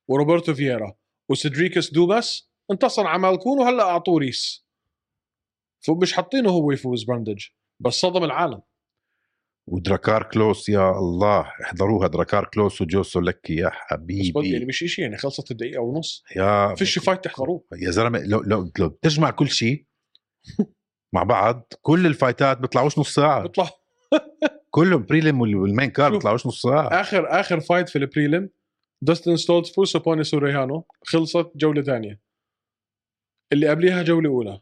وروبرتو فييرا وسدريكس دوباس انتصر على مالكون وهلا اعطوه ريس فمش حاطينه هو يفوز براندج بس صدم العالم ودراكار كلوس يا الله احضروها دراكار كلوس وجو سولكي يا بس بدي يعني حبيبي مش شيء يعني خلصت الدقيقه ونص يا فيش فايت تحضروه يا زلمه لو لو لو بتجمع كل [LAUGHS] شيء مع بعض كل الفايتات بيطلعوش نص [LAUGHS] ساعه بيطلع كلهم بريلم وال- والمين كارد شوف. آه. بيطلعوش نص ساعه اخر اخر فايت في البريلم داستن ستولتز فوز سوبوني سوريانو خلصت جوله ثانيه اللي قبليها جوله اولى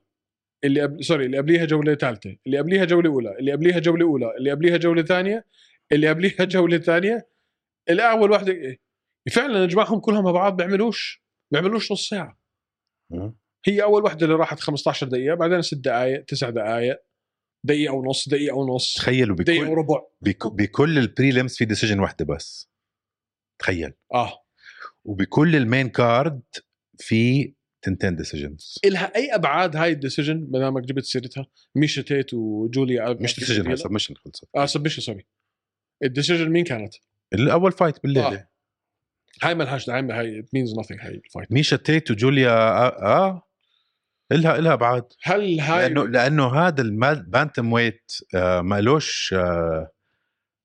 اللي قبل سوري اللي قبليها جوله ثالثه اللي قبليها جوله اولى اللي قبليها جوله اولى اللي قبليها جوله ثانيه اللي قبليها جوله ثانيه الاول واحده إيه؟ فعلا اجمعهم كلهم مع بعض بيعملوش بيعملوش نص ساعه هي اول واحده اللي راحت 15 دقيقه بعدين 6 دقائق 9 دقائق دقيقه ونص دقيقه ونص تخيلوا دقيقه بكل وربع بك- بكل البريلمز في ديسيجن واحده بس تخيل اه وبكل المين كارد في تنتين ديسيجنز الها اي ابعاد هاي الديسيجن ما دامك جبت سيرتها ميشا تيت وجوليا مش ديسيجن هاي سبمشن خلصت اه سبمشن سوري الديسيجن مين كانت؟ الاول فايت بالليله آه. هاي مالهاش دعم هاي مينز nothing هاي الفايت ميشا تيت وجوليا اه, آه. الها الها ابعاد هل هاي لانه لانه هذا البانتم ويت آه، ما لوش آه،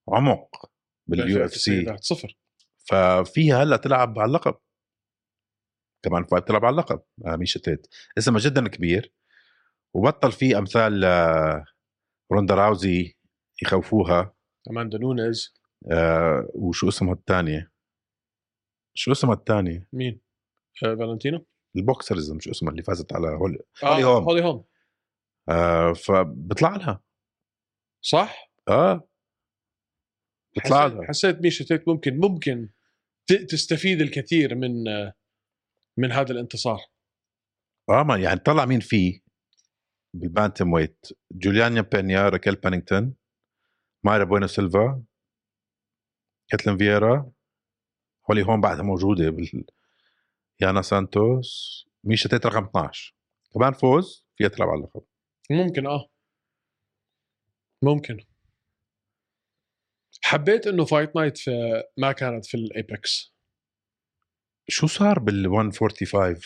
عمق باليو اف سي التسعينات صفر ففيها هلا تلعب على اللقب كمان فايت تلعب على اللقب آه، ميشا تيت اسمها جدا كبير وبطل في امثال آه، روندا راوزي يخوفوها اماندا نونيز آه، وشو اسمها الثانيه شو اسمها الثانيه مين؟ آه فالنتينو؟ البوكسرزم شو اسمها اللي فازت على هول آه، هولي هوم. هولي هوم آه، فبطلع لها صح؟ اه بطلع حسيت- لها حسيت ميشا تيت ممكن ممكن ت- تستفيد الكثير من آه، من هذا الانتصار اه ما يعني طلع مين فيه بالبانتم ويت جوليانيا بينيا راكيل بانينغتون مايرا بوينو سيلفا كاتلين فييرا هولي هون بعدها موجوده بال... يانا سانتوس ميشا تيت رقم 12 كمان فوز فيها تلعب على اللقب ممكن اه ممكن حبيت انه فايت نايت في ما كانت في الايبكس شو صار بال 145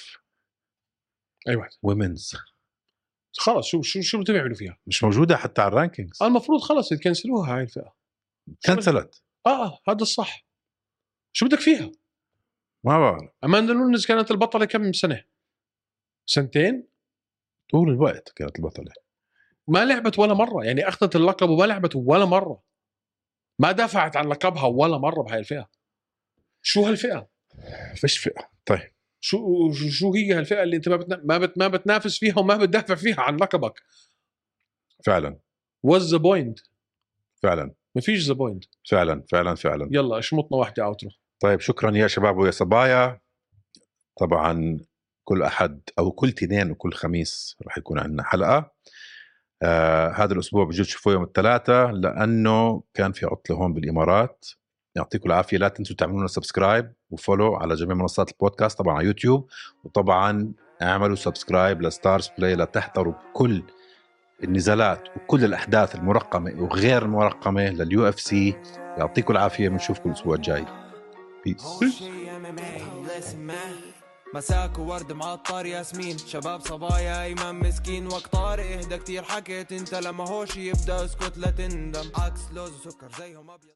اي واحد ويمنز خلص شو شو شو بدهم يعملوا فيها؟ مش موجوده حتى على الرانكينجز المفروض خلص يكنسلوها هاي الفئه كنسلت اه هذا الصح شو بدك فيها؟ ما بعرف اماندا نونز كانت البطله كم سنه؟ سنتين؟ طول الوقت كانت البطله ما لعبت ولا مره يعني اخذت اللقب وما لعبت ولا مره ما دافعت عن لقبها ولا مره بهاي الفئه شو هالفئه؟ فيش فئه طيب شو شو- شو هي هالفئه اللي انت ما بتنا... ما, بت... ما بتنافس فيها وما بتدافع فيها عن لقبك فعلا واز ذا بوينت فعلا ما فيش ذا بوينت فعلا فعلا فعلا يلا اشمطنا واحده اوترو طيب شكرا يا شباب ويا صبايا طبعا كل احد او كل تنين وكل خميس راح يكون عندنا حلقه آه هذا الاسبوع بجوز تشوفوه يوم الثلاثاء لانه كان في عطله هون بالامارات يعطيكم العافيه لا تنسوا تعملوا لنا سبسكرايب وفولو على جميع منصات البودكاست طبعا على يوتيوب وطبعا اعملوا سبسكرايب لستارز بلاي لتحضروا كل النزالات وكل الاحداث المرقمه وغير المرقمه لليو اف سي يعطيكم العافيه بنشوفكم الاسبوع الجاي هو بيس شي MMA listen man مساك وورد معطر ياسمين شباب صبايا ايمن مسكين وقت طارق اهدى كتير حكيت انت لما هوش يبدا اسكت لا تندم عكس لوز وسكر زيهم ابيض